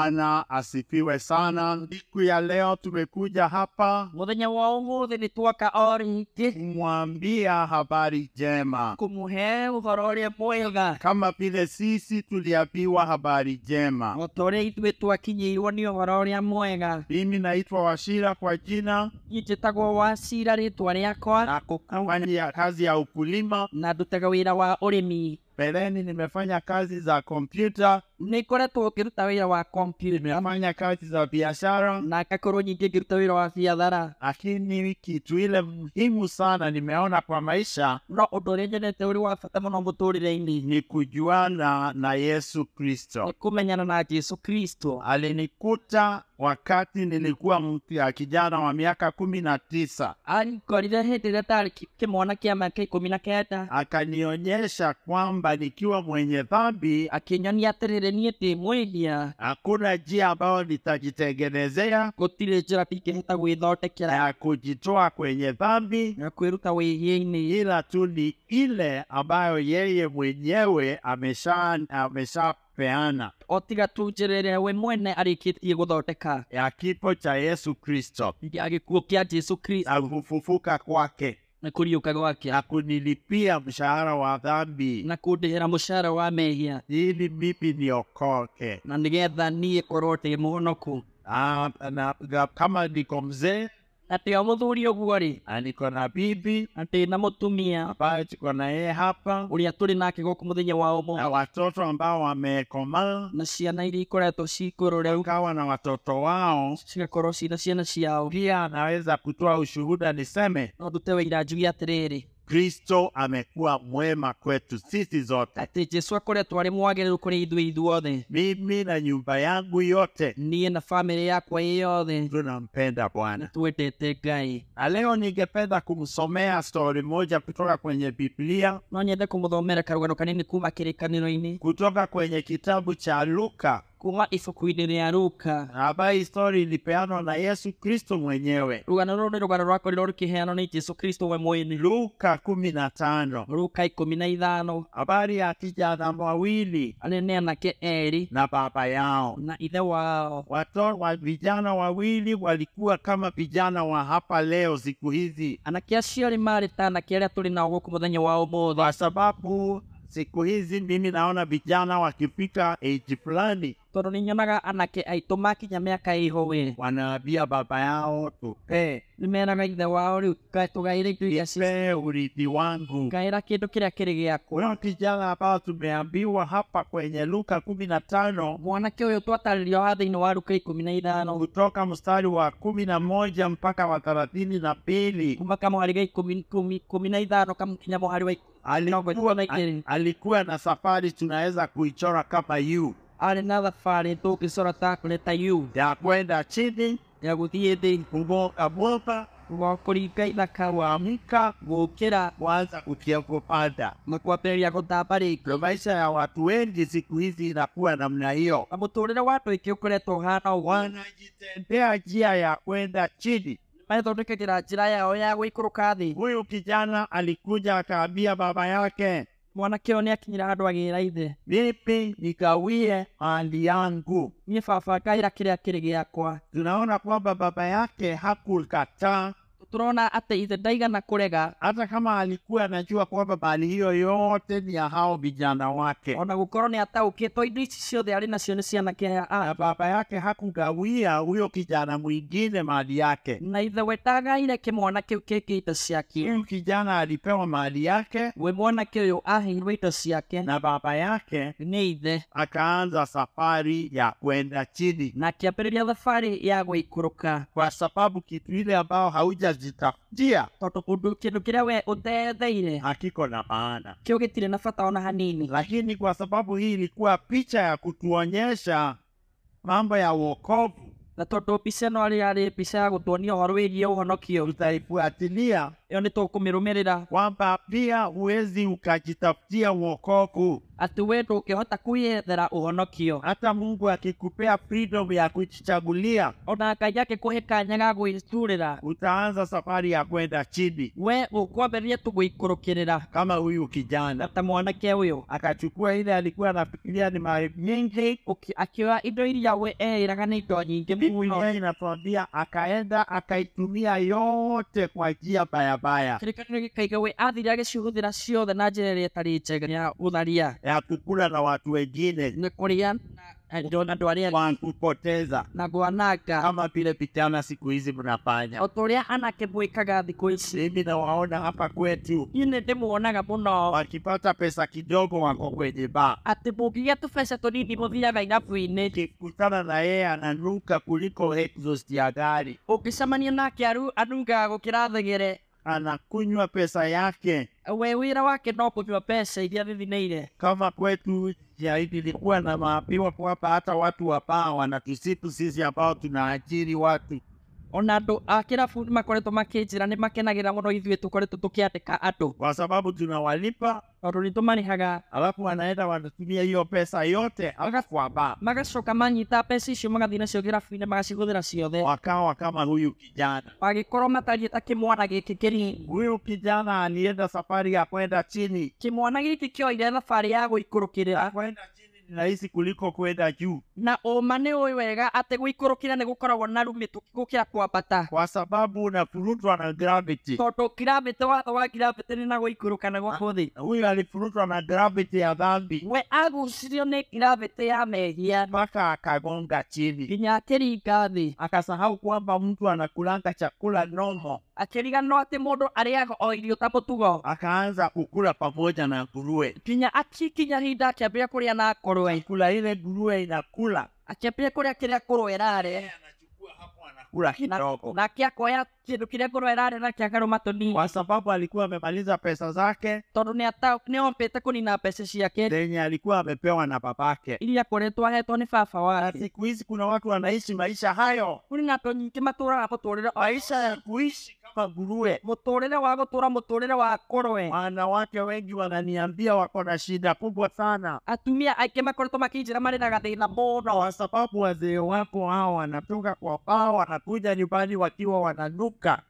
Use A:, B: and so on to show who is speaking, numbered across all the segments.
A: Bwana asifiwe sana. Siku ya leo tumekuja hapa
B: mũthenya wa ũmũthĩ nĩ twaka o rĩngĩ
A: kumwambia habari njema,
B: kũmũhe ũhoro ũrĩa mwega
A: kama vile sisi tuliambiwa habari njema.
B: o ta ũrĩa ithuĩ twakinyĩirwo nĩ ũhoro ũrĩa mwega
A: Mimi naitwa Washira kwa jina
B: Niĩ njĩtagwo wa cira rĩtwa rĩakwa
A: na kufanya kazi ya ukulima.
B: na ndutaga wĩra wa ũrĩmi
A: Mbeleni nimefanya kazi za kompyuta,
B: nĩ ngoretwo ngĩruta wĩra wa kompyuta
A: nimefanya kazi za biashara,
B: na ngakorwo nyingĩ ngĩruta wĩra wa biathara
A: lakini kitu ile muhimu sana nimeona kwa maisha
B: no ũndũ ũrĩa nyendete ũrĩ wa bata mũno mũtũrĩre-inĩ
A: ni kujuana na Yesu
B: nĩ
A: Kristo.
B: kũmenyana na jesu kristo
A: Alinikuta wakati nilikuwa mtu ya kijana wa miaka kumi na tisa,
B: ankorire hĩndĩ ĩrĩa ndarĩ ki- kĩmwana kĩa mĩaka ikũmi na kenda
A: akanionyesha kwamba nikiwa mwenye dhambi
B: akĩnyonia atĩrĩrĩ niĩ ndĩ mwĩhia
A: hakuna njia ambayo nitajitengenezea
B: gũtirĩ njĩra ndingĩhota gwĩthondekera
A: ya kujitoa kwenye dhambi,
B: na kwĩruta wĩhia-inĩ
A: ila tu ni ile ambayo yeye mwenyewe amesha ameshapeana
B: o tiga tu njĩra ĩrĩa we mwene arĩkĩtie gũthondeka
A: ya kifo cha Yesu Kristo
B: ya gĩkuũ kĩa jesu kristo
A: na kufufuka kwake
B: na kũriũka gwake
A: na kunilipia mshahara wa dhambi
B: na kũndĩhĩra mũcara wa mehia
A: ili mimi niokoke.
B: na nĩgetha niĩ korwo ndĩ mũhonoku
A: Ah, na- na- Kama niko mzee
B: na ndĩ o mũthuri ũguo rĩ
A: na niko na bibi
B: na ndĩ na mũtumia
A: ambaye tuko na yeye hapa
B: ũrĩa tũrĩ nake gũkũ mũthenya wa ũmwe
A: na watoto ambao wamekomaa
B: na ciana iria ikoretwo ciikũrũ rĩu
A: kawa na watoto wao,
B: cigakorwo ciĩna ciana ciao
A: pia naweza kutoa ushuhuda niseme
B: no ndute wĩira njuge atĩrĩrĩ
A: Kristo amekuwa mwema kwetu sisi zote.
B: atĩ jesu akoretwo arĩ mwagĩrĩru kũrĩ ithuĩ ithuothe
A: Mimi na nyumba yangu yote
B: niĩ na bamĩrĩ yakwa ĩ yothe
A: tunampenda Bwana.
B: twendete ngai
A: Na leo ningependa kumsomea stori moja kutoka kwenye Biblia,
B: no nyende kũmũthomera karũgano kanini kuma kĩrĩkanĩro-inĩ
A: kutoka kwenye kitabu cha Luka,
B: kuma ibuku-inĩ rĩa ruka
A: ambayo stori ilipeanwa na Yesu Kristo mwenyewe.
B: rũgano rũrũ nĩ rũgano rwakorirwo rũkĩheanwo nĩ jesu kristo we mwene
A: Luka kumi na tano
B: ruka ikũmi na ithano
A: habari ya kijana wawili
B: anene anake erĩ
A: na baba yao.
B: na ithe wao
A: Watoto wa vijana wawili walikuwa kama vijana wa hapa leo siku hizi,
B: anake acio erĩ maarĩ ta anake arĩa tũrĩ nao gũkũ mũthenya wa ũmũthĩ
A: kwa sababu siku hizi mimi naona vijana wakifika age fulani
B: tondũ nĩ nyonaga anake aitũ makinya mĩaka ĩhowe
A: wanaambia baba yao tupee
B: nĩ meraga ithe wao rĩu "Kaĩ tũgaĩre indo iria ci
A: tupee urithi wangu.
B: ngaĩra kĩndũ kĩrĩa kĩrĩ gĩaku
A: Huyo kijana ambao tumeambiwa hapa kwenye Luka kumi na tano
B: mwanake ũyũ twatarĩrio haha thĩinĩ wa ruka ikũmi na ithano
A: kutoka mstari wa kumi na moja mpaka wa thelathini na mbili
B: kuma kamwari ga ikũmi ikũmi- ikũmi na ithano kamkinya mũhari wa ikũmi mĩrongo
A: alikuwa,
B: ĩtatũ na igĩrĩ
A: alikuwa na safari tunaweza kuichora kama yu
B: arĩ na thabarĩ tũngĩcora takuleta yu
A: ya kwenda chini
B: ya gũthiĩ thĩ
A: kugonga mwamba
B: gwa kũringa ithaka
A: kuamka
B: gũũkĩra
A: kuanza kutia kupanda
B: na kwambĩrĩria gũtamba rĩngĩ
A: ndio maisha ya watu wengi siku hizi inakuwa namna hiyo
B: na mũtũũrĩre wa andũ aingĩ ũkoretwo ũhana ũguo
A: wanajitendea njia ya kwenda chini
B: methondekagĩra njĩra yao ya gũikũrũka thĩ
A: huyu kijana alikuja akaambia baba yake
B: mwanake ũyũ nĩ akinyĩra handũ agĩĩra ithe
A: mimi nigawie mali yangu
B: niĩ baba ngaĩra kĩrĩa kĩrĩ gĩakwa
A: tunaona kwamba baba yake hakukataa
B: tũrona atĩ ithe ndaigana kũrega
A: hata kama alikuwa anajua kwamba mali hiyo yote ni ya hao vijana wake
B: ona gũkorwo nĩ ataũkĩtwo indo ici ciothe arĩ nacio nĩ cianake
A: na baba yake hakugawia huyo kijana mwingine mali yake
B: na ithe we ndagaire kĩmwana kĩu kĩngĩ indo ciake
A: huyu kijana alipewa mali yake
B: we mwanake ũyũ aheirwo indo ciake
A: na baba yake
B: nĩ ithe
A: akaanza safari ya kwenda chini
B: na akĩambĩrĩria thabarĩ ya gũikũrũka
A: kwa sababu kitu ile ambao haujajitafutia
B: tondũ ũndũ kĩndũ kĩrĩa we ũteetheire
A: hakiko na maana
B: kĩu gĩtirĩ na bata ona hanini
A: lakini kwa sababu hii ilikuwa picha ya kutuonyesha mambo ya wokovu
B: na tondũ mbica ĩno arĩ arĩ mbica ya gũtuonia ũhoro wĩgiĩ ũhonokio
A: tutaifuatilia
B: one tũkũmĩrũmĩrĩra
A: kwamba pia huwezi ukajitafutia wokovu.
B: atĩ we ndũngĩhota kwĩyethera ũhonokio
A: Hata Mungu akikupea freedom ya kujichagulia,
B: ona ngai akĩkũhe kanya ga gwĩturĩra
A: utaanza safari ya kwenda chini,
B: we ũkwambĩrĩria tu gwĩikũrũkĩrĩra
A: kama huyu kijana
B: ta mwanake ũyũ
A: akachukua ile alikuwa anafikiria ni mali nyingi.
B: ũki- akĩoya indo iria we e, eĩraga nĩ indo nyingĩ mũno
A: Biblia inatuambia akaenda akaitumia yote kwa njia bayabaya
B: kĩrĩkanĩro gĩkaiga we athire agĩcihũthĩra ciothe na njĩra ĩrĩa ĩtarĩ njega ya gũtharia
A: ya kukula na watu wengine
B: nĩ kũrĩa na andũ arĩa angĩ,
A: wakupoteza,
B: na gwananga
A: kama vile vijana siku hizi mnafanya.
B: o ta ũrĩa anake mwĩkaga thikũ ici
A: Mimi nawaona hapa kwetu
B: niĩ nĩ ndĩmuonaga mũno
A: wakipata pesa kidogo, wako kwenye baa
B: atĩ mũngĩgĩa tũbeca tũnini mũthiaga irabu-inĩ
A: ukikutana na yeye ananuka kuliko exhaust ya gari,
B: ũngĩcemania nake aru- anugaga gũkĩra thegere
A: anakunywa pesa yake.
B: we wĩra wake no kũnyua mbeca iria thithinĩire
A: Kama kwetu jai nilikuwa na maambiwa kwamba hata watu wa baa wanatusitu sisi ambao tunaajiri watu,
B: ona andũ a kĩrabu nĩ makoretwo makĩnjĩra nĩ makenagĩra mũno ithuĩ tũkoretwo tũkĩandĩka andũ
A: kwa sababu tunawalipa,
B: tondũ nĩ tũmarĩhaga
A: alafu wanaenda wanatumia hiyo pesa yote alafu kwa baa,
B: magacoka manyita mbeca icio magathiĩ nacio kĩrabu-inĩ magacihũthĩra ciothe
A: wakawa kama huyu kijana.
B: magĩkorwo matariĩ ta kĩmwana gĩkĩ kĩnini
A: Huyu kijana alienda safari ya kwenda chini,
B: kĩmwana gĩkĩ kĩoire thabarĩ ya gwĩikũrũkĩrĩra
A: kwenda chini ni rahisi kuliko kwenda juu,
B: na ũma nĩ ũĩ wega atĩ gwĩikũrũkĩra nĩ gũkoragwo na rumĩtũ gũkĩra kwambata
A: kwa sababu unafurutwa na gravity.
B: tondũ kirabĩte watho wa kirabĩte nĩ na gũikũrũka na gũkũ thĩ
A: huyu alifurutwa na gravity ya dhambi
B: we agucirio nĩ kirabĩte ya mehia
A: mpaka akagonga chini,
B: nginya akĩringa thĩ
A: akasahau kwamba mtu anakulanga chakula nomo,
B: akĩriganwo atĩ mũndũ arĩaga o irio ta mũtugo
A: akaanza kukula pamoja na nguruwe.
B: nginya akikinya hinda akĩambĩrĩria kũrĩa na e. ngũrwe
A: Kula ile nguruwe inakula,
B: akĩambĩrĩria kũrĩa kĩrĩa ngũrwe ĩrarĩa
A: anachukua hapo, anakula kidogo,
B: nake akoya kĩndũ kĩrĩa ngũrwe ĩrarĩa na kĩagarũma tũnini
A: kwa sababu alikuwa amemaliza pesa zake
B: tondũ nĩ ata- nĩ ombĩte kũnina mbeca ciake
A: zenye alikuwa amepewa na babake.
B: iria akoretwo ahetwo nĩ baba
A: Na
B: wake
A: siku hizi kuna watu wanaishi maisha hayo,
B: kũrĩ na andũ nyingĩ matũraga mũtũrĩre
A: maisha ya kuishi kama nguruwe.
B: mũtũrĩre wa gũtũra mũtũrĩre wa ngũrwe
A: Wanawake wengi wananiambia wako na shida kubwa sana
B: atumia aingĩ makoretwo makĩnjĩra marĩ na gathĩna mũno
A: kwa sababu wazee wako hao wanatoka kwa baa wanakuja nyumbani wakiwa wananuka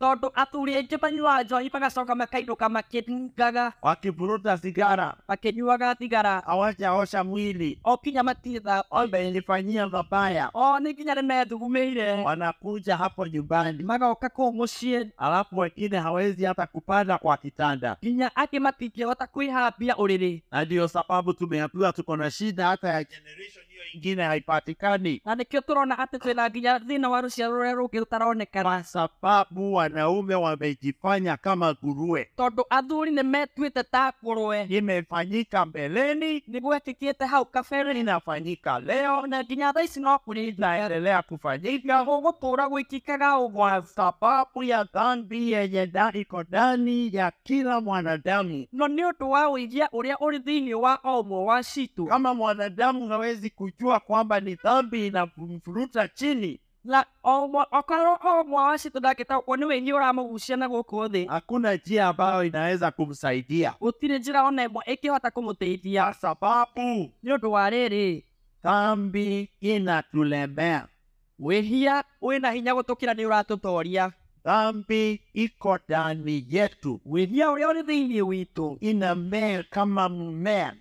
B: tondũ athuri aingĩ manyuaga njohi magacoka makainũka makĩnungaga
A: wakivuruta sigara
B: makĩnyuaga thigara
A: hawajaosha mwili
B: o kinya matiĩthamba
A: wamenifanyia mabaya
B: o nĩ nginya nĩ methugumĩire
A: wanakuja hapo nyumbani
B: magoka kũu mũciĩ
A: alafu wengine hawezi hata kupanda kwa kitanda
B: nginya angĩ matingĩhota kwĩhambia ũrĩrĩ
A: na ndiyo sababu tumeambiwa tuko na shida hata ya generation hiyo ingine haipatikani
B: na nĩkĩo tũrona atĩ twĩna nginya thĩna wa rũciaro rũrĩa rũngĩ rũtaronekana
A: kwa sababu wanaume wamejifanya kama nguruwe
B: tondũ athuri nĩ metuĩte ta ngũrwe
A: imefanyika mbeleni
B: nĩ gwekĩkĩte hau kabere
A: inafanyika leo
B: na nginya tha ici no kũrĩnda
A: inaendelea kufanyika
B: gũgũtũra gwĩkĩkaga ũguo
A: kwa sababu ya dhambi yenye nda- iko ndani ya kila mwanadamu.
B: no nĩ ũndũ wa ũiria ũrĩa ũrĩ thĩinĩ wa o ũmwe wa citũ
A: Kama mwanadamu hawezi kujua kwamba ni dhambi inamfuruta chini,
B: na o ũmwe- okorwo o ũmwe wa citũ ndangĩtaũkwo nĩ wĩiria ũramũgucia na gũkũ thĩ
A: hakuna njia ambayo inaweza kumsaidia
B: gũtirĩ njĩra ona ĩmwe ĩngĩhota kũmũteithia
A: kwa sababu
B: nĩ ũndũ wa rĩrĩ
A: dhambi inatulemea,
B: wĩhia wĩna hinya gũtũkĩra nĩ ũratũtoria
A: dhambi iko ndani yetu,
B: wĩhia ũrĩa ũrĩ thĩinĩ witũ
A: inamea kama mmea,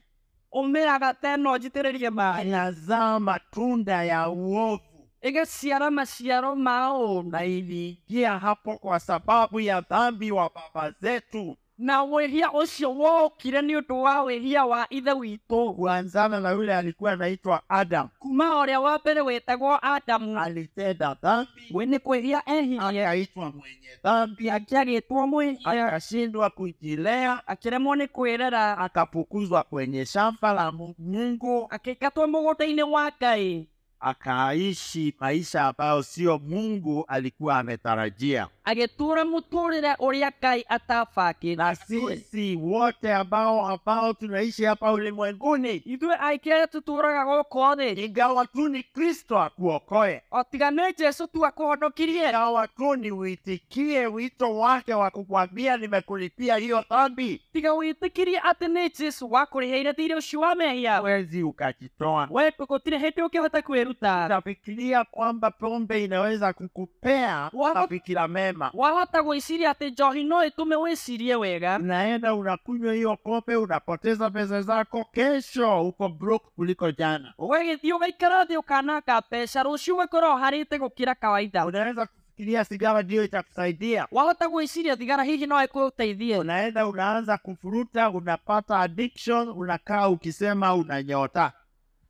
B: ũmĩraga teno njitĩrĩrie maĩ
A: inazaa matunda ya uovu
B: ĩgĩciara maciaro ma ũũru
A: na iliingia hapo kwa sababu ya dhambi wa baba zetu
B: na wĩhia ũcio wokire nĩ ũndũ wa wĩhia e wa ithe witũ
A: kuanzana na yule alikuwa anaitwa Adam.
B: kuma ũrĩa wa mbere wĩtagwo adamu
A: Alitenda dhambi
B: we nĩ kwĩhia ehirie
A: akaitwa mwenye dhambi,
B: akĩagĩtwo mwĩhia
A: akashindwa kujilea,
B: akĩremwo nĩ kwĩrera
A: akafukuzwa kwenye shamba la Mungu,
B: akĩingatwo mũgũnda-inĩ wa ngai
A: akaishi maisha ambayo sio Mungu alikuwa ametarajia,
B: agätå muturire uria ngai atabangä
A: na sisi wote ambao ambao tunaishi hapa ulimwenguni,
B: ithuä aingä arä tå tå raga gå kå thä
A: ingawa tu ni Kristo akuokoe,
B: o tiga nä jesu tu akåhonokirie
A: ingawa tu ni uitikie wito wake wa kukwambia nimekulipia hiyo dhambi,
B: tiga wä tä kirie atä nä jesu wakå rä hä ire thirä å cio wa mehia
A: huwezi ukajitoa.
B: we gå tirä hä ndä å kä hota kwä ruta
A: Utafikiria kwamba pombe inaweza kukupea
B: Wao-
A: mafikira mema,
B: wahota gwä ciria atä njohi no ä tå me wä cirie wega
A: unaenda unakunywa hiyo pombe, unapoteza pesa zako, kesho uko broke kuliko jana.
B: wegä thiä å gaikara thä å kananga mbeca rå cio gakora å harä te gå kä ra kawaida
A: Unaweza kufikiria sigara ndiyo itakusaidia,
B: wahota gwä ciria thigara hihi no ä kå å teithie
A: unaenda unaanza kufuruta, unapata addiction, unakaa ukisema unanyota.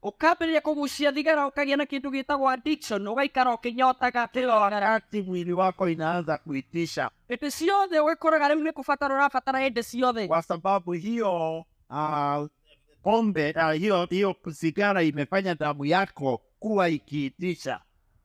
B: å kambä rä ria kå gucia thigara å kagä na kä ndå gä tagwo å gaikara å kä nyotaga ä
A: Wakati mwili wako inaanza kuitisha,
B: ndä ciothe å gä koraga rä u nä kå batara å rabatara hä ndä ciothe
A: kwa sababu hiyo ah, pombe ah, hiyo hiyo sigara imefanya damu yako kuwa ikiitisha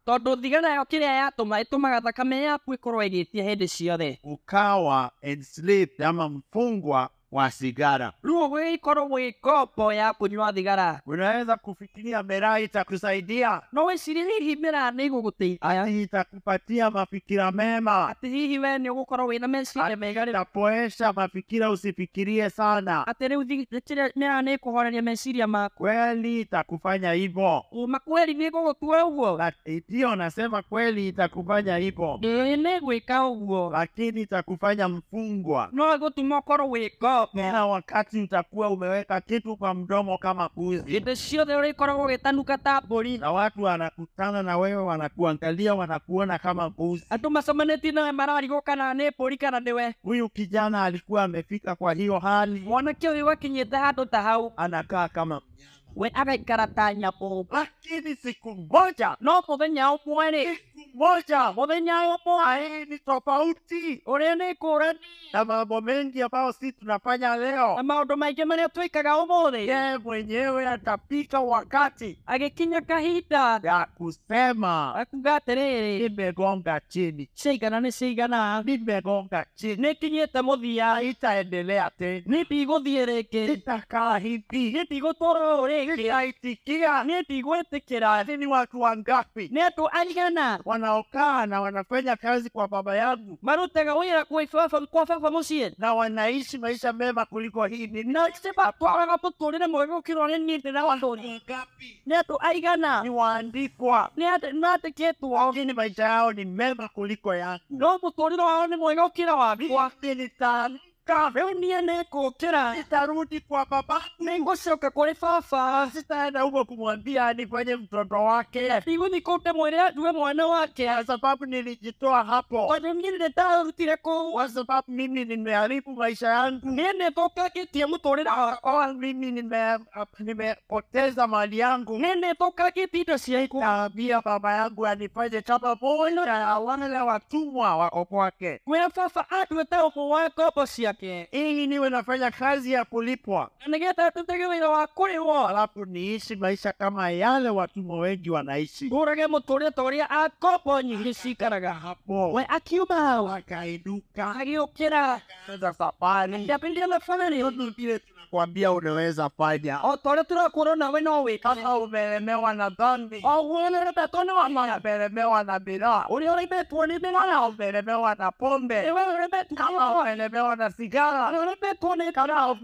B: tondå thigara yo kä rä a yatå ma ä tå maga thakame yaku ä korwo ä gä tie hä ndä ciothe
A: ukawa enslaved ama mfungwa wa sigara.
B: rä u å gä korwo wä ngombo ya kå nyua thigara
A: Unaweza kufikiria meraha itakusaidia,
B: no wä cirie hihi mä ra nä igå gå teithia
A: ati itakupatia mafikira mema,
B: atä hihi we nä å gå korwo wä na meciria mega rä
A: itapoesha mafikira, usifikirie sana.
B: atä rä u mä ra nä kå horeria meciria maku
A: Kweli itakufanya hivyo,
B: makweri nä gå gå tua å guo
A: Na- ndio nasema kweli itakufanya hivyo,
B: nä gwä ka å guo
A: lakini itakufanya mfungwa.
B: no ä gå tuma å korwo wä ngombo
A: Kila wakati utakuwa umeweka kitu kwa mdomo kama
B: hä
A: mbuzi,
B: ndä ciothe å rä koragwo gä tanuka ta mbå ri
A: na watu wanakutana na wewe, wanakuangalia, wanakuona kama mbuzi.
B: andå macomanätie nawe mararigå kana nä mbå ri kana nä we
A: huyu kijana alikuwa amefika kwa hiyo hali
B: mwanake å yå gakinyä te handå ta hau
A: anakaa kama mnyama.
B: we agaikara ta nyamå
A: lakini siku moja
B: no må thenya å mwe rä
A: siku moja
B: må thenya å mwe
A: ae ni tofauti
B: å rä a nä ngå rani
A: na mambo mengi ambayo si tunafanya
B: na
A: leo
B: maå ndå maingä marä a twä kaga å må thä
A: ye mwenyewe atapika wakati
B: agä kinya kahinda
A: ya kusema
B: akuga atä rä rä
A: nimegonga chini
B: ciaigana nä ciaigana
A: nimegonga chini
B: nä kinyä te må thia
A: itaendelea tena
B: nä ndigå thiä rä ngä
A: itakaa hivi
B: nä ndigå twarwo å rä ngä
A: itaitikia
B: nä ndigwä tä kä ra
A: ni watu wangapi
B: nä andå aigana
A: wanaokaa na wanafanya kazi kwa baba yangu
B: marutaga wä ra kwa ibaba- kwa baba må ciä
A: na wanaishi maisha mema kuliko hivi
B: na cibatwaraga må tå rä re mwega å kä rwo nä niä ndä na watå ri nä andå aigana
A: ni waandikwa
B: natĩ kä two
A: lakini maisha yao ni mema kuliko yangu
B: no må tå rä re wao nä mwega å kä ra wakwa
A: Mimi nitaamka
B: rä u niä nä ngå kä ra
A: nitarudi kwa baba
B: nä ngå coka kå rä baba
A: sitaenda huko kumwambia nifanye mtoto wake
B: ndigå thiä kå ndä mwä re nduwe mwana wake
A: kwa sababu nilijitoa hapo
B: tondå niä nä ndarutire kå
A: kwa sababu mimi nimeharibu maisha yangu
B: nä nä thåkangä tie må tå rä re
A: Oh, mimi nime- nimepoteza mali yangu
B: nä nä thåkangä tie indo ciakwa
A: taambia baba yangu anifanye kama moja ya wale watumwa wako kwake
B: kwä ra baba anduä å må wa ngombo ciake
A: ili niwe nafanya kazi ya kulipwa
B: na nä getha ndute gä wä ra wa kå rä wo
A: alafu niishi maisha kama yale watumwa wengi wanaishi
B: ndå rage må tå rä re ta å rä a ngombo nyingä cikaraga
A: hapo
B: we akiuma hau
A: wakainuka
B: agä å kä ra
A: anza safari
B: ndapindia na bamä
A: vile tunakwambia unaweza fanya
B: o ta å rä a tå rakuona nawe no wä ka
A: kama umelemewa na dhambi
B: o tá guo ndatwo nä wa maya
A: umelemewa na bidhaa
B: å rä a å raimbetwo nä mä rana
A: umelemewa na
B: nä
A: pombe
B: we å raimbetwo
A: kama umelemewa na sigara
B: nä
A: kama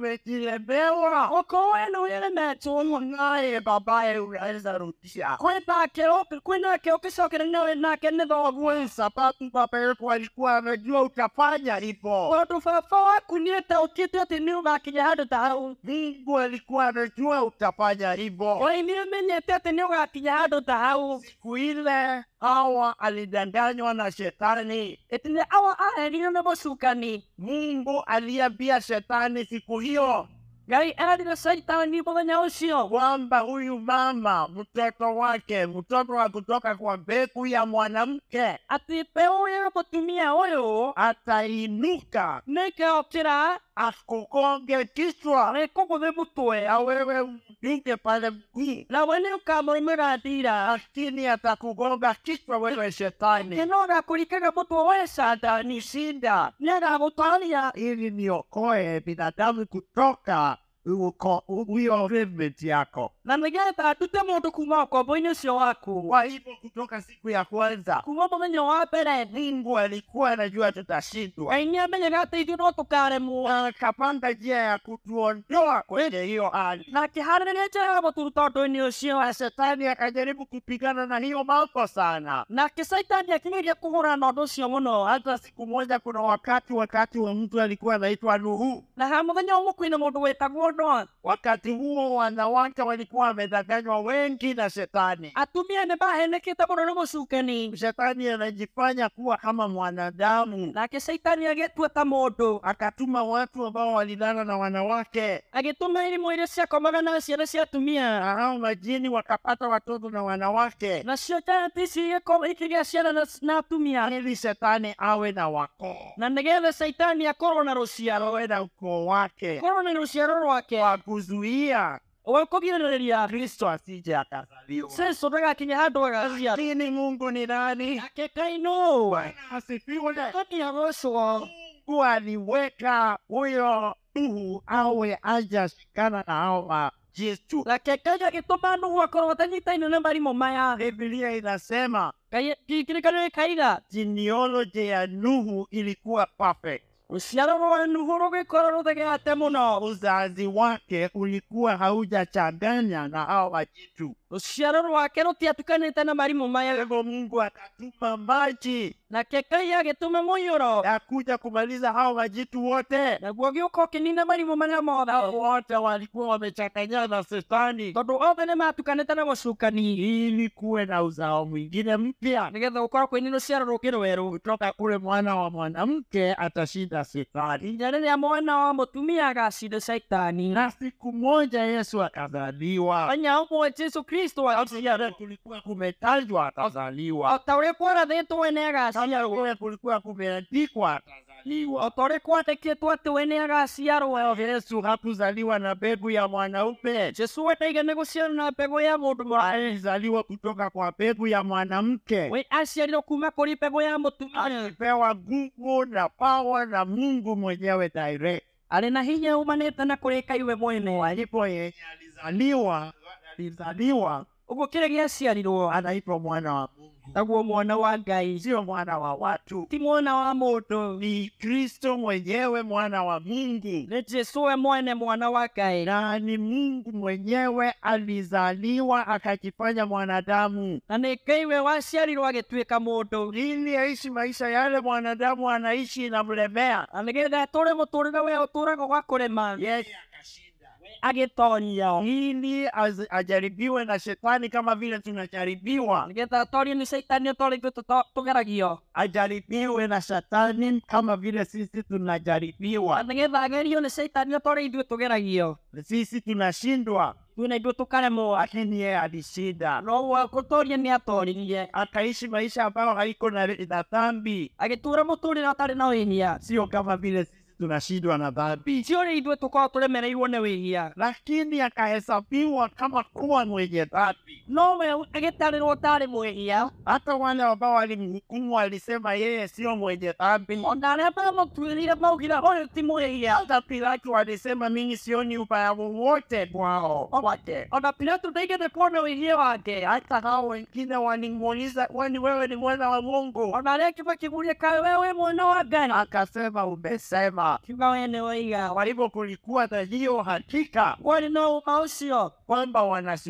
A: umejilemewa
B: å korwo we nä å remetwo
A: naye babaye unaweza rudisha
B: kwä nake kwä nake å kä cokera nawe nake nä thoguo
A: sababu baba yetu alikuwa amejua utafanya hivyo
B: tondå baba waku nä etaåkä te atä nä å gakinya handå ta hau
A: Mungu alikuwa anajua utafanya hivyo.
B: oi nä å menyete atä nä å gakinya handå ta hau
A: Siku ile Hawa alidanganywa na shetani.
B: ätinä awa aherirwo nä må cukani
A: Mungu aliambia shetani siku hiyo
B: ngai arirwo caitani må thenya å cio
A: kwamba huyu mama mtoto wake mtoto wa kutoka kwa mbegu ya mwanamke
B: atä mbeå å yå må tumia å yå
A: atainuka
B: nä keå kä ra
A: akugonge kichwa
B: rä kå gå thä må twe
A: na wewe Ninge pale mguu
B: na we nä å kamoimä thira
A: lakini atakugonga kichwa wewe shetani.
B: ngeno ndakåringaga må two wecanda
A: Ni shinda
B: nä aragå taria
A: ili niokoe binadamu kutoka uko- u- hiyo limit yako.
B: na nä getha ndute må ndå kuma ũkombo-inä å cio waku
A: Kwa hivyo kutoka siku ya kwanza
B: kuma må thenya wa mbere
A: Mungu alikuwa anajua tutashindwa,
B: ngai nä amenyaga atä ithuä no tå karemwo
A: Na akapanga njia ya kutuondoa kwenye hiyo hali.
B: na akä harä rä ria njä ya gå turuta å ndå-inä å cio
A: Shetani akajaribu kupigana na hiyo mambo sana.
B: nake caitani akä geria kå hå rana na å ndå å cio må no
A: Hata siku moja, kuna wakati wakati wa mtu alikuwa anaitwa Nuhu.
B: na ha må thenya å må kwä nä må ndå wä tagwo noa
A: Wakati huo wanawake walikuwa wamedanganywa wengi na shetani.
B: atumia nä mahenä kä te må no nä må cukani
A: Shetani anajifanya kuwa kama mwanadamu,
B: nake caitani agä tua ta må ndå
A: akatuma watu ambao walilala na wanawake,
B: agä tå ma irimå irä ciakomaga na ciana cia atumia
A: na hao majini wakapata watoto na wanawake,
B: nacio njaneti ici igĩko- ikĩgĩa ciana na- na atumia
A: ili shetani awe na wakoo,
B: na nä getha caitani akorwo na rå ciaro
A: awe na ukoo wake
B: korwo nä rå ciaro rwake
A: wa kuzuia
B: kå girä rä ria
A: Kristo asije akazaliwa.
B: ceco ndagakinya handå agazia
A: Lakini Mungu ni nani?
B: ake ngai no
A: Bwana asifiwe.
B: toniagocwo
A: Mungu aliweka huyo Nuhu awe ajashikana na hao majesu.
B: nake ngai agä tå ma nä akorwo atanyitaine nä marimå maya
A: Biblia inasema
B: ngikirikanä kaiga
A: genealogy ya Nuhu ilikuwa perfect.
B: rå ciaro rwa nuhu rå gä korwo rå thegegate må no
A: Uzazi wake ulikuwa haujachanganya na hao majitu.
B: rå ciaro rwake rå tiatukanä te na marimå
A: Kwa
B: maya
A: hivyo Mungu akatuma maji
B: nake ngai agä tå ma må yå ro
A: ya kuja kumaliza hao majitu wote.
B: naguo gä å ka å kä nina marimå marä
A: Hao
B: mothe
A: Wote walikuwa wamechanganyana na shetani
B: tondå othe nä matukanä te na gå cukani
A: ili kuwe na uzao mwingine mpya.
B: nä getha gå korwo kwä nä rå ciaro rå ngä rwerå
A: kutoka kule mwana wa mwanamke atashinda shetani.
B: nginya rä rä a mwana wa må tumia agacinda caitani
A: Na siku moja Yesu akazaliwa,
B: anya å mwe jesu kristo
A: Pia
B: agaciarwo
A: kulikuwa kumetajwa
B: o
A: akazaliwa,
B: ta å rä a kwarathä two nä
A: Pia
B: agaciarwo
A: kule kulikuwa kumeandikwa
B: o
A: akazaliwa.
B: ta å rä a kwandä kä two atä we nä agaciarwo
A: Yesu hakuzaliwa na mbegu ya mwanaume,
B: jesu wendaiga nä gå ciarwo na mbegå ya må ndå må
A: alizaliwa kutoka kwa mbegu ya mwanamke,
B: we aciarirwo kuma kå rä mbegå ya må tumia
A: akipewa nguvu na pawa na Mungu mwenyewe direct.
B: arä na hinya umanä te na kå rä kaiwe mwene
A: Ndipo yenye alizaliwa alizaliwa
B: å guo kä rä gä aciarirwo
A: anaitwa mwana wa Mungu.
B: naguo mwana wa ngai
A: sio mwana wa watu,
B: ti mwana wa må ndå
A: ni Kristo mwenyewe, mwana wa Mungu,
B: nä jesu we mwene mwana wa ngai
A: na ni Mungu mwenyewe alizaliwa akajifanya mwanadamu
B: na nä ngai we waciarirwo agä tuä ka må ndå
A: ili aishi maisha yale mwanadamu anaishi, inamlemea
B: na nä getha tå rä må tå rä re we å tå ragwo gwa kå rä
A: yes,
B: agä toria
A: ili az- ajaribiwe na shetani kama vile tunajaribiwa,
B: nä getha torio nä caitani å torä ithuä tå geragio
A: ajaribiwe na shetani kama vile sisi tunajaribiwa,
B: nä getha agerio nä caitani å torä ithuä tå geragio
A: sisi tunashindwa,
B: tuä na ithuä tå karemwo
A: lakini yeye alishinda.
B: noguo gå toria nä atoririe
A: akaishi maisha ambayo haiko na, na dhambi,
B: agätũra må tå rä re atarä na wĩhia
A: sio kama vile sisi tunashindwa na dhambi,
B: cio rä ithuä tũkorwo tũremereirwo nĩ wĩhia
A: lakini akahesabiwa kama kuwa mwenye dhambi.
B: nowe agĩtarĩrwo tarĩ mwĩhia
A: Hata wale ambao walimhukumu walisema yeye sio mwenye dhambi,
B: ona arĩa mamũtuĩrĩire maugire ũyũ ti mwĩhia
A: hata Pilato alisema mimi sioni ubaya wowote kwao kwake.
B: ona pilato ndaigana kuona wĩhia wake
A: Hata hao wengine walimuuliza, kwani wewe ni mwana wa Mungu?
B: ona arĩa akĩ makĩguria we wĩ mwena wa ngani
A: Akasema umesema.
B: kiuga we nĩ woiga
A: Kwa hivyo kulikuwa na hiyo hakika
B: kwarĩ na ũma ũcio
A: kwamba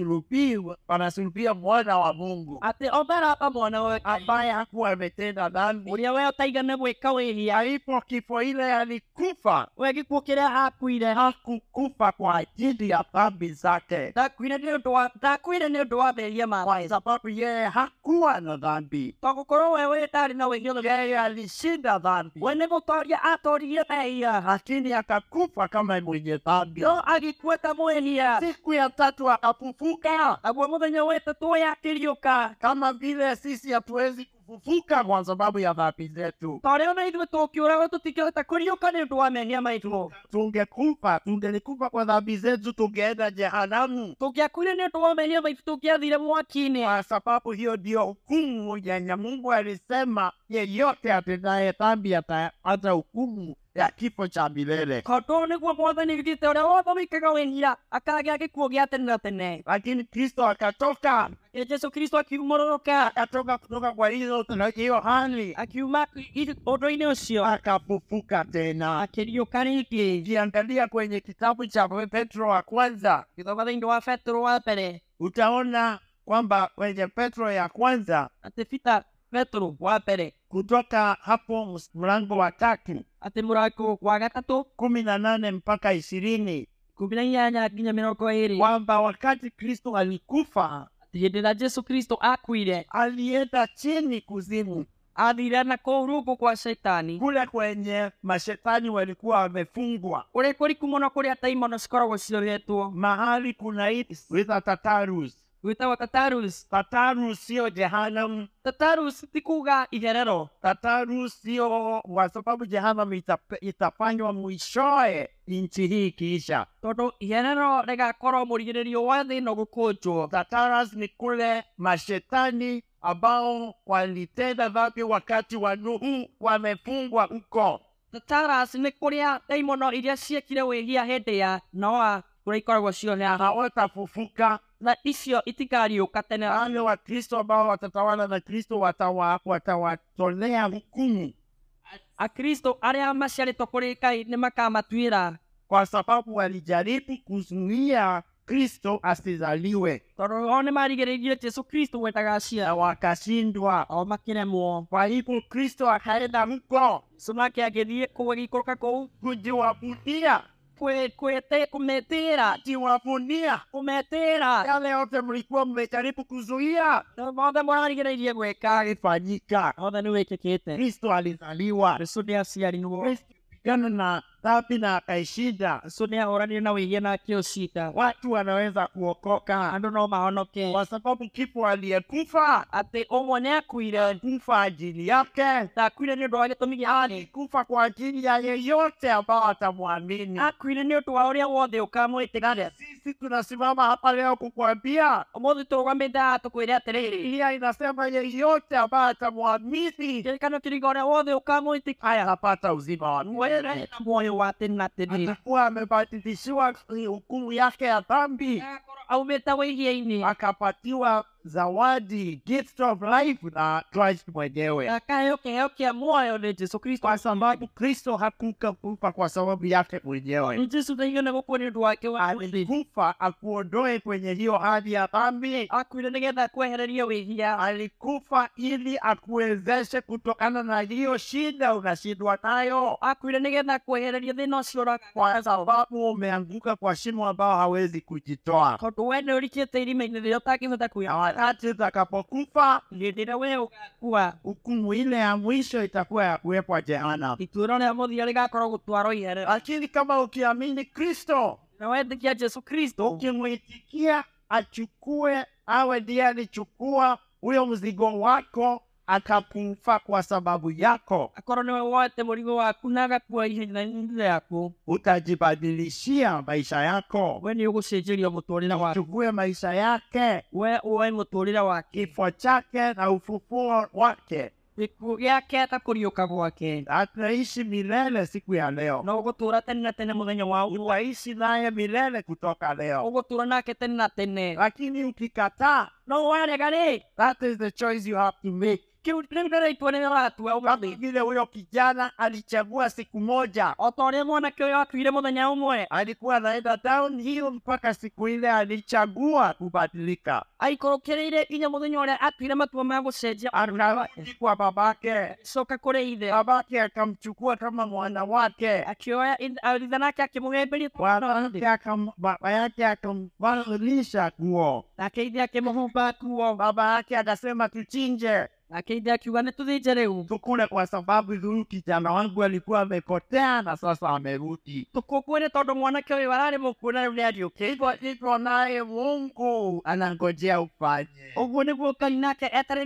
A: wanasulubiwa wanasulubia mwana wa Mungu
B: atĩ o maraba mwana wake
A: ambaye hakuwa ametenda dhambi.
B: ũrĩa we ũtaigana gwĩka wĩhia
A: Alipo kifo ile alikufa,
B: we gĩkuũ kĩrĩa akuire
A: hakukufa kwa ajili ya dhambi zake,
B: ndakuire nĩ ũndũ wa ndakuire nĩ ũndũ wa mehia
A: kwa
B: makwa
A: sababu yeye hakuwa na dhambi,
B: tondũ korwo we wĩ ndarĩ na wĩhia
A: yeye alishinda dhambi,
B: we nä gå toria atoririe mehia
A: lakini akakufa kama mwenye dhambi.
B: no agäkua ta mwehia
A: Siku ya tatu akafufuka,
B: e naguo må thenya wä tatå yakä riå ka
A: kama vile sisi hatuwezi kufufuka kwa sababu ya dhambi zetu.
B: ta å rä a ona ithuä tå kä å raga tå tikähota kå riå ka nä å ndå wa menia maitå
A: Tungekufa, tungelikufa kwa dhambi zetu, tungeenda jehanamu,
B: tå ngä akuire nä å ndå wa menia maitå tå ngä athire mwaki-inä
A: kwa sababu hiyo ndiyo hukumu yenye Mungu alisema yeyote atendaye dhambi atapata hukumu ya kifo cha milele.
B: tondå å nä guo mwathani å gä å rä a wothe wä kaga wä hira akagä a gä kuo gä a tene na tene
A: Lakini Kristo akatoka
B: Ĩ jesu kristo akiuma å rå ka
A: akatoka kutoka kwa hizo na hiyo hali
B: akiuma å ndå-inä å cio
A: akafufuka tena.
B: akä riå ka rä ngä
A: Ukiangalia kwenye kitabu cha Petro wa kwanza
B: gä thoma thä inä wa betero wa mbere
A: utaona kwamba kwenye Petro ya kwanza
B: atä bita betero wa mbere
A: kutoka hapo ms- mlango wa tatu
B: atä må rango wa gatatå
A: kumi na nane mpaka ishirini
B: ikå na inyanya nginya mä rongo ä rä
A: kwamba wakati Kristo alikufa
B: hä ndä ä rä jesu kristo akuire
A: alienda chini kuzimu,
B: athire na kå u rungu kwa shaitani
A: kule kwenye mashetani walikuwa wamefungwa,
B: å rä kå riku må no kå rä a taimono cikoragwo ciroretwo
A: mahali kunaitwa Tatarus.
B: gwätagwo tatarus
A: Tatarus siyo jehanamu,
B: tatarus ti kuga igerero
A: Tatarus siyo kwa sababu jehanamu itap- itafanywa mwishoe nchi hii ikiisha.
B: tondå igerero rä gakorwo må rigä rä rio wa thä no gå kå njwo
A: Tataras ni kule mashetani ambao walitenda dhambi wakati wa Nuhu, wamefungwa huko.
B: tatarus nä kå rä a taimono iria ciekire wä hia hä ndä ya noa å rä a ikoragwo cione
A: Hawatafufuka.
B: na icio itikariå ka tene
A: Wale Wakristo ambao watatawala na Kristo watawa- watawatolea hukumu,
B: akristo arä a maciarä two kå rä ngai nä makamatuä ra
A: kwa sababu walijaribu kuzuia Kristo asizaliwe
B: tondå o nä marigä rä irie jesu kristo
A: na
B: wendaga
A: wakashindwa.
B: o makä remwo
A: Kwa hivyo Kristo akaenda huko
B: cå nake agä thiä kå gä ikå rå ka kå u
A: kujiwavunia
B: kå metä ra
A: kujiwavunia
B: kå metä ra
A: yale yote mlikuwa mmejaribu kuzuia
B: mothe må rarigä rä irie gwä ka
A: fanyika.
B: mothe nä wä kä kä te
A: Kristo alizaliwa,
B: jesu nä aciarirwo
A: Kristo pigana na dhambi na akaishinda.
B: jesu nä ahoranire na wä hia na akä å cinda
A: Watu wanaweza kuokoka
B: andå no mahonoke
A: kwa sababu kifo aliyekufa
B: atä å mwe nä akuire
A: kufa ajili yake,
B: na akuire nä å ndå wa gä tå mi gä ane
A: kufa kwa ajili ya yeyote ambao atamwamini.
B: akuire nä å ndå wa å rä a wothe å kamwä tä gare
A: Sisi tunasimama hapa leo kukuambia,
B: å må thä tå rå gamä te haha tå kwä re atä rä rä
A: Biblia inasema yeyote ambaye atamwamini
B: kano kä ringa å rä a wothe å kamwä tä
A: haya hapata uzima wa milele,
B: wena muoyo wa tene na tene
A: atakuwa amebadilishiwa hukumu yake ya dhambi
B: aumä te wä hia-inä
A: akapatiwa zawadi gift of life na Christ mwenyewe,
B: akaheo kä heo kä a muoyo nä jesu kristo
A: kwa sababu Kristo hakukufa kwa sababu yake mwenyewe,
B: Nĩ jesu thaiyo nä gå kå nä å ndå wake wa
A: alikufa akuondoe kwenye hiyo hali ya dhambi.
B: akuire nä getha kwehererie wä hia
A: Alikufa ili akuwezeshe kutokana na hiyo shida unashindwa nayo,
B: akuire nä getha kwehererie thä na å cio raga
A: kwa sababu umeanguka kwa shimo ambao hawezi kujitoa.
B: tondå we nä å rikä te irima-inä rä rä a å tangä hota
A: Na
B: kuya
A: wakati utakapokufa
B: hä ndä ä rä a we å gakua
A: hukumu ile ya mwisho itakuwa ya kuwekwa jehanamu.
B: ituä ro rä a må thia rä gakorwo gå twarwo ihere
A: lakini kama ukiamini Kristo,
B: na wendä kia jesu kristo
A: ukimwitikia achukue, awe ndiye alichukua huyo mzigo wako, akakufa kwa sababu yako,
B: akorwo nä we woete må rigo waku na agakua ihenya yaku
A: utajibadilishia maisha yako,
B: we nä å gå cenjerio må tå rä re waku
A: uchukue maisha yake,
B: we oe må tå rä re wake
A: kifo chake na ufufuo wake,
B: gäkuo gä ake na kå riå ka gwake
A: ataishi milele siku ya leo,
B: na å gå tå ra tene na tene må thenya wa å
A: utaishi naye milele kutoka
B: å
A: leo.
B: gå tå ra nake tene é na tene
A: Lakini ukikataa,
B: no warega rä
A: that is the choice you have to make.
B: kä u rä u nä raitua nä ratua
A: kama
B: å
A: vile huyo kijana alichagua siku moja,
B: o ta å rä a mwanake å yå akuire må thenya å mwe
A: alikuwa anaenda downhill mpaka siku ile alichagua kubadilika,
B: aikorå kä rä ire inya må thenya å rä a atuire matua ma gå cenjia
A: akarudi kwa babake,
B: coka kå rä ithe
A: babake akamchukua kama mwana wake,
B: akä oya ithe nake akä må gembä
A: mwanake
B: ria
A: akam- baba yake akamvalisha nguo,
B: nake ithe akä må humba nguo
A: baba yake akasema tuchinje,
B: akeithia akiuga nä tå thä nje rä u
A: tukule kwa sababu huyu kijana wangu alikuwa amepotea na sasa amerudi.
B: tå kå ngwä tondå mwanake å yå ararä må kuo na rä u nä ariå
A: Hivyo hivyo naye Mungu anangojea ufanye.
B: å guo nä guo ngai nake eterä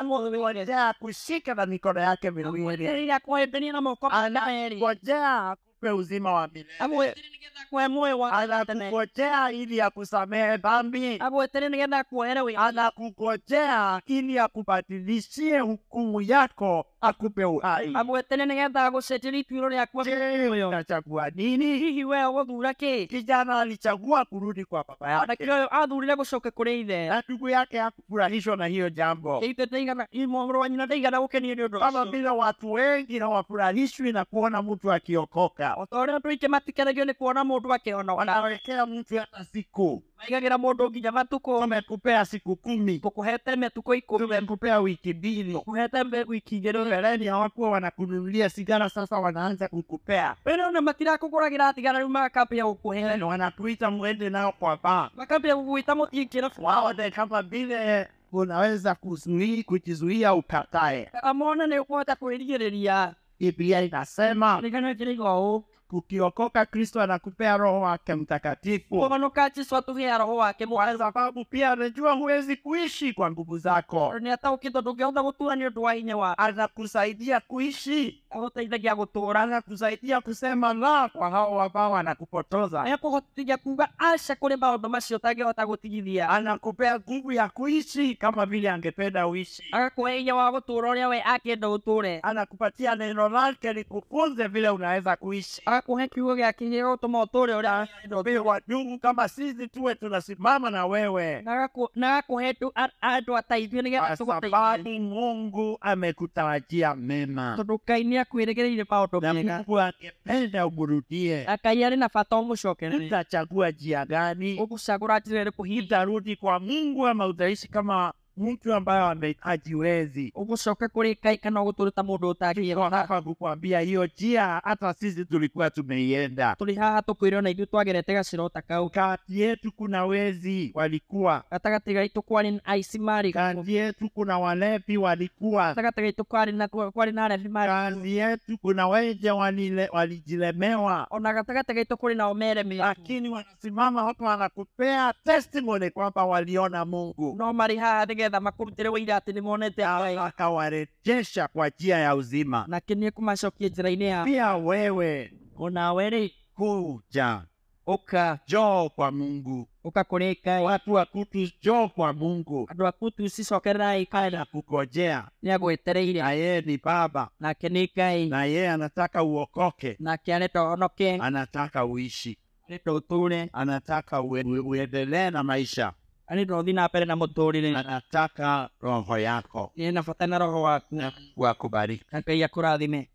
A: Anangojea kushika na mikono yake miwili,
B: rä akwahembenia na moko merĩ.
A: anangojea akupe uzima wa milele,
B: agwetere nä getha akwoe muoyo wa tene
A: anakungojea ili akusamehe dhambi,
B: agwetere nä getha akwoere wä
A: anakungojea ili akubadilishie hukumu yako, akupe uhai.
B: agwetere nä getha agå cenjeria ituä rä akua
A: Je, unachagua nini?
B: hihi we gå thura kä
A: Kijana alichagua kurudi kwa baba
B: anake
A: yake,
B: å yå athurire gå coke kå rä ithe
A: na ndugu yake hakufurahishwa na hiyo jambo.
B: ithe ndaigana må wa nyina ndaigana gå kenio nä å
A: kama
B: ndå
A: vile watu wengi hawafurahishwi na kuona mtu akiokoka,
B: o ta å rä a andå aingä matikenagio nä kuona må ndå akäona
A: wanawekea mtu hata siku.
B: maigagä ra må ndå nginya matukå
A: Tumekupea siku kumi,
B: gå kå hete mä tukå ikå
A: tumekupea wiki mbili.
B: kå hete wiki igä rä
A: Mbeleni hawakuwa wanakununulia sigara, sasa wanaanza kukupea
B: wä rä ona matirakå gå ragä ra tigana rä u magakambia gå kå he
A: Mbeleni wanakuita mwende nao kwa baa,
B: makambia gå gwä ta må thiä kä rabu
A: waone kama vile unaweza kuzuii, kujizuia ukatae.
B: amona nä å kå hota kwä rigä rä ria
A: Biblia inasema
B: nä gana kä rä iga å
A: ukiokoka, Kristo anakupea Roho wake Mtakatifu.
B: honoka jesu atå roho wake må
A: kwa sababu pia anajua huwezi kuishi kwa nguvu zako,
B: nä ataå kä tå ndå ngä hota gå tura nä å ndå wa hinya wa
A: anakusaidia kuishi,
B: agå teithagia gå tå ra
A: anakusaidia kusema la kwa hao ambao wanakupotoza,
B: akå hotithia kuga aca kå rä maå ndå macio tangä hota gå tigithia
A: anakupea nguvu ya kuishi kama vile angependa uishi,
B: agakå he hinya wa gå tå ra å rä a we akenda å tå re
A: anakupatia neno lake likufunze vile unaweza kuishi.
B: agakå he kiugo gä akä gä gå tå ma å tå re å rä a
A: Tumewa Mungu kama sisi tuwe tunasimama na wewe,
B: na agakå he andå- andå ateithio nä
A: kwa
B: getha tå gå teithie
A: sababu Mungu amekutarajia mema
B: tondå ngai nä akwä rä gä rä ire maå ndå
A: na
B: mega
A: Mungu angependa umrudie.
B: na ngai arä na bata å må cokerere
A: Utachagua njia gani?
B: å gå cagå ra njä ra kå hinda
A: utarudi kwa Mungu ama utaishi kama mtu ambaye ame- hajiwezi.
B: å gå coka kå rä ngai kana å gå tå rä ta må ndå å
A: Niko
B: tangä
A: hapa kukwambia hiyo njia, hata sisi tulikuwa tumeienda.
B: tå rä haha tå kwä rwo na ithuä twagerete gacä ta kau
A: Kati yetu kuna wezi walikuwa,
B: gatagatĩ gaitå kwarĩ na aici marĩ kuo.
A: kati yetu kuna walevi walikuwa,
B: gatagatĩ gaitå kwarĩ na kwarĩ na arebi marĩ kuo.
A: kati yetu kuna wenje walile- walijilemewa,
B: ona gatagatĩ gaitå kũrĩ nao meremä
A: lakini wanasimama hapa wanakupea testimony kwamba waliona Mungu,
B: no marĩ haha nĩ getha makå rutĩre wĩira atĩ nĩ monete Ngai.
A: akawarejesha kwa njia ya uzima.
B: nake nĩ kũmacokia njĩra-inĩ ya
A: Pia wewe
B: onawe rĩ
A: kuja
B: ũka
A: njoo kwa Mungu,
B: ũka kũrĩ Ngai
A: watu wa kutu, njoo kwa Mungu
B: andå aku tu cicokererai kana
A: kukojea,
B: nĩ agwetereire
A: na yeye ni Baba,
B: nake nĩ Ngai
A: na yeye anataka uokoke,
B: nake arenda honoke
A: anataka uishi,
B: arenda å tå re
A: anataka ue, ue, uendelee na maisha,
B: arenda å thiĩ na mbere na må tå rä re
A: anataka roho yako
B: nä na bata na roho waku
A: na Mungu akubariki.
B: na Ngai akå rathime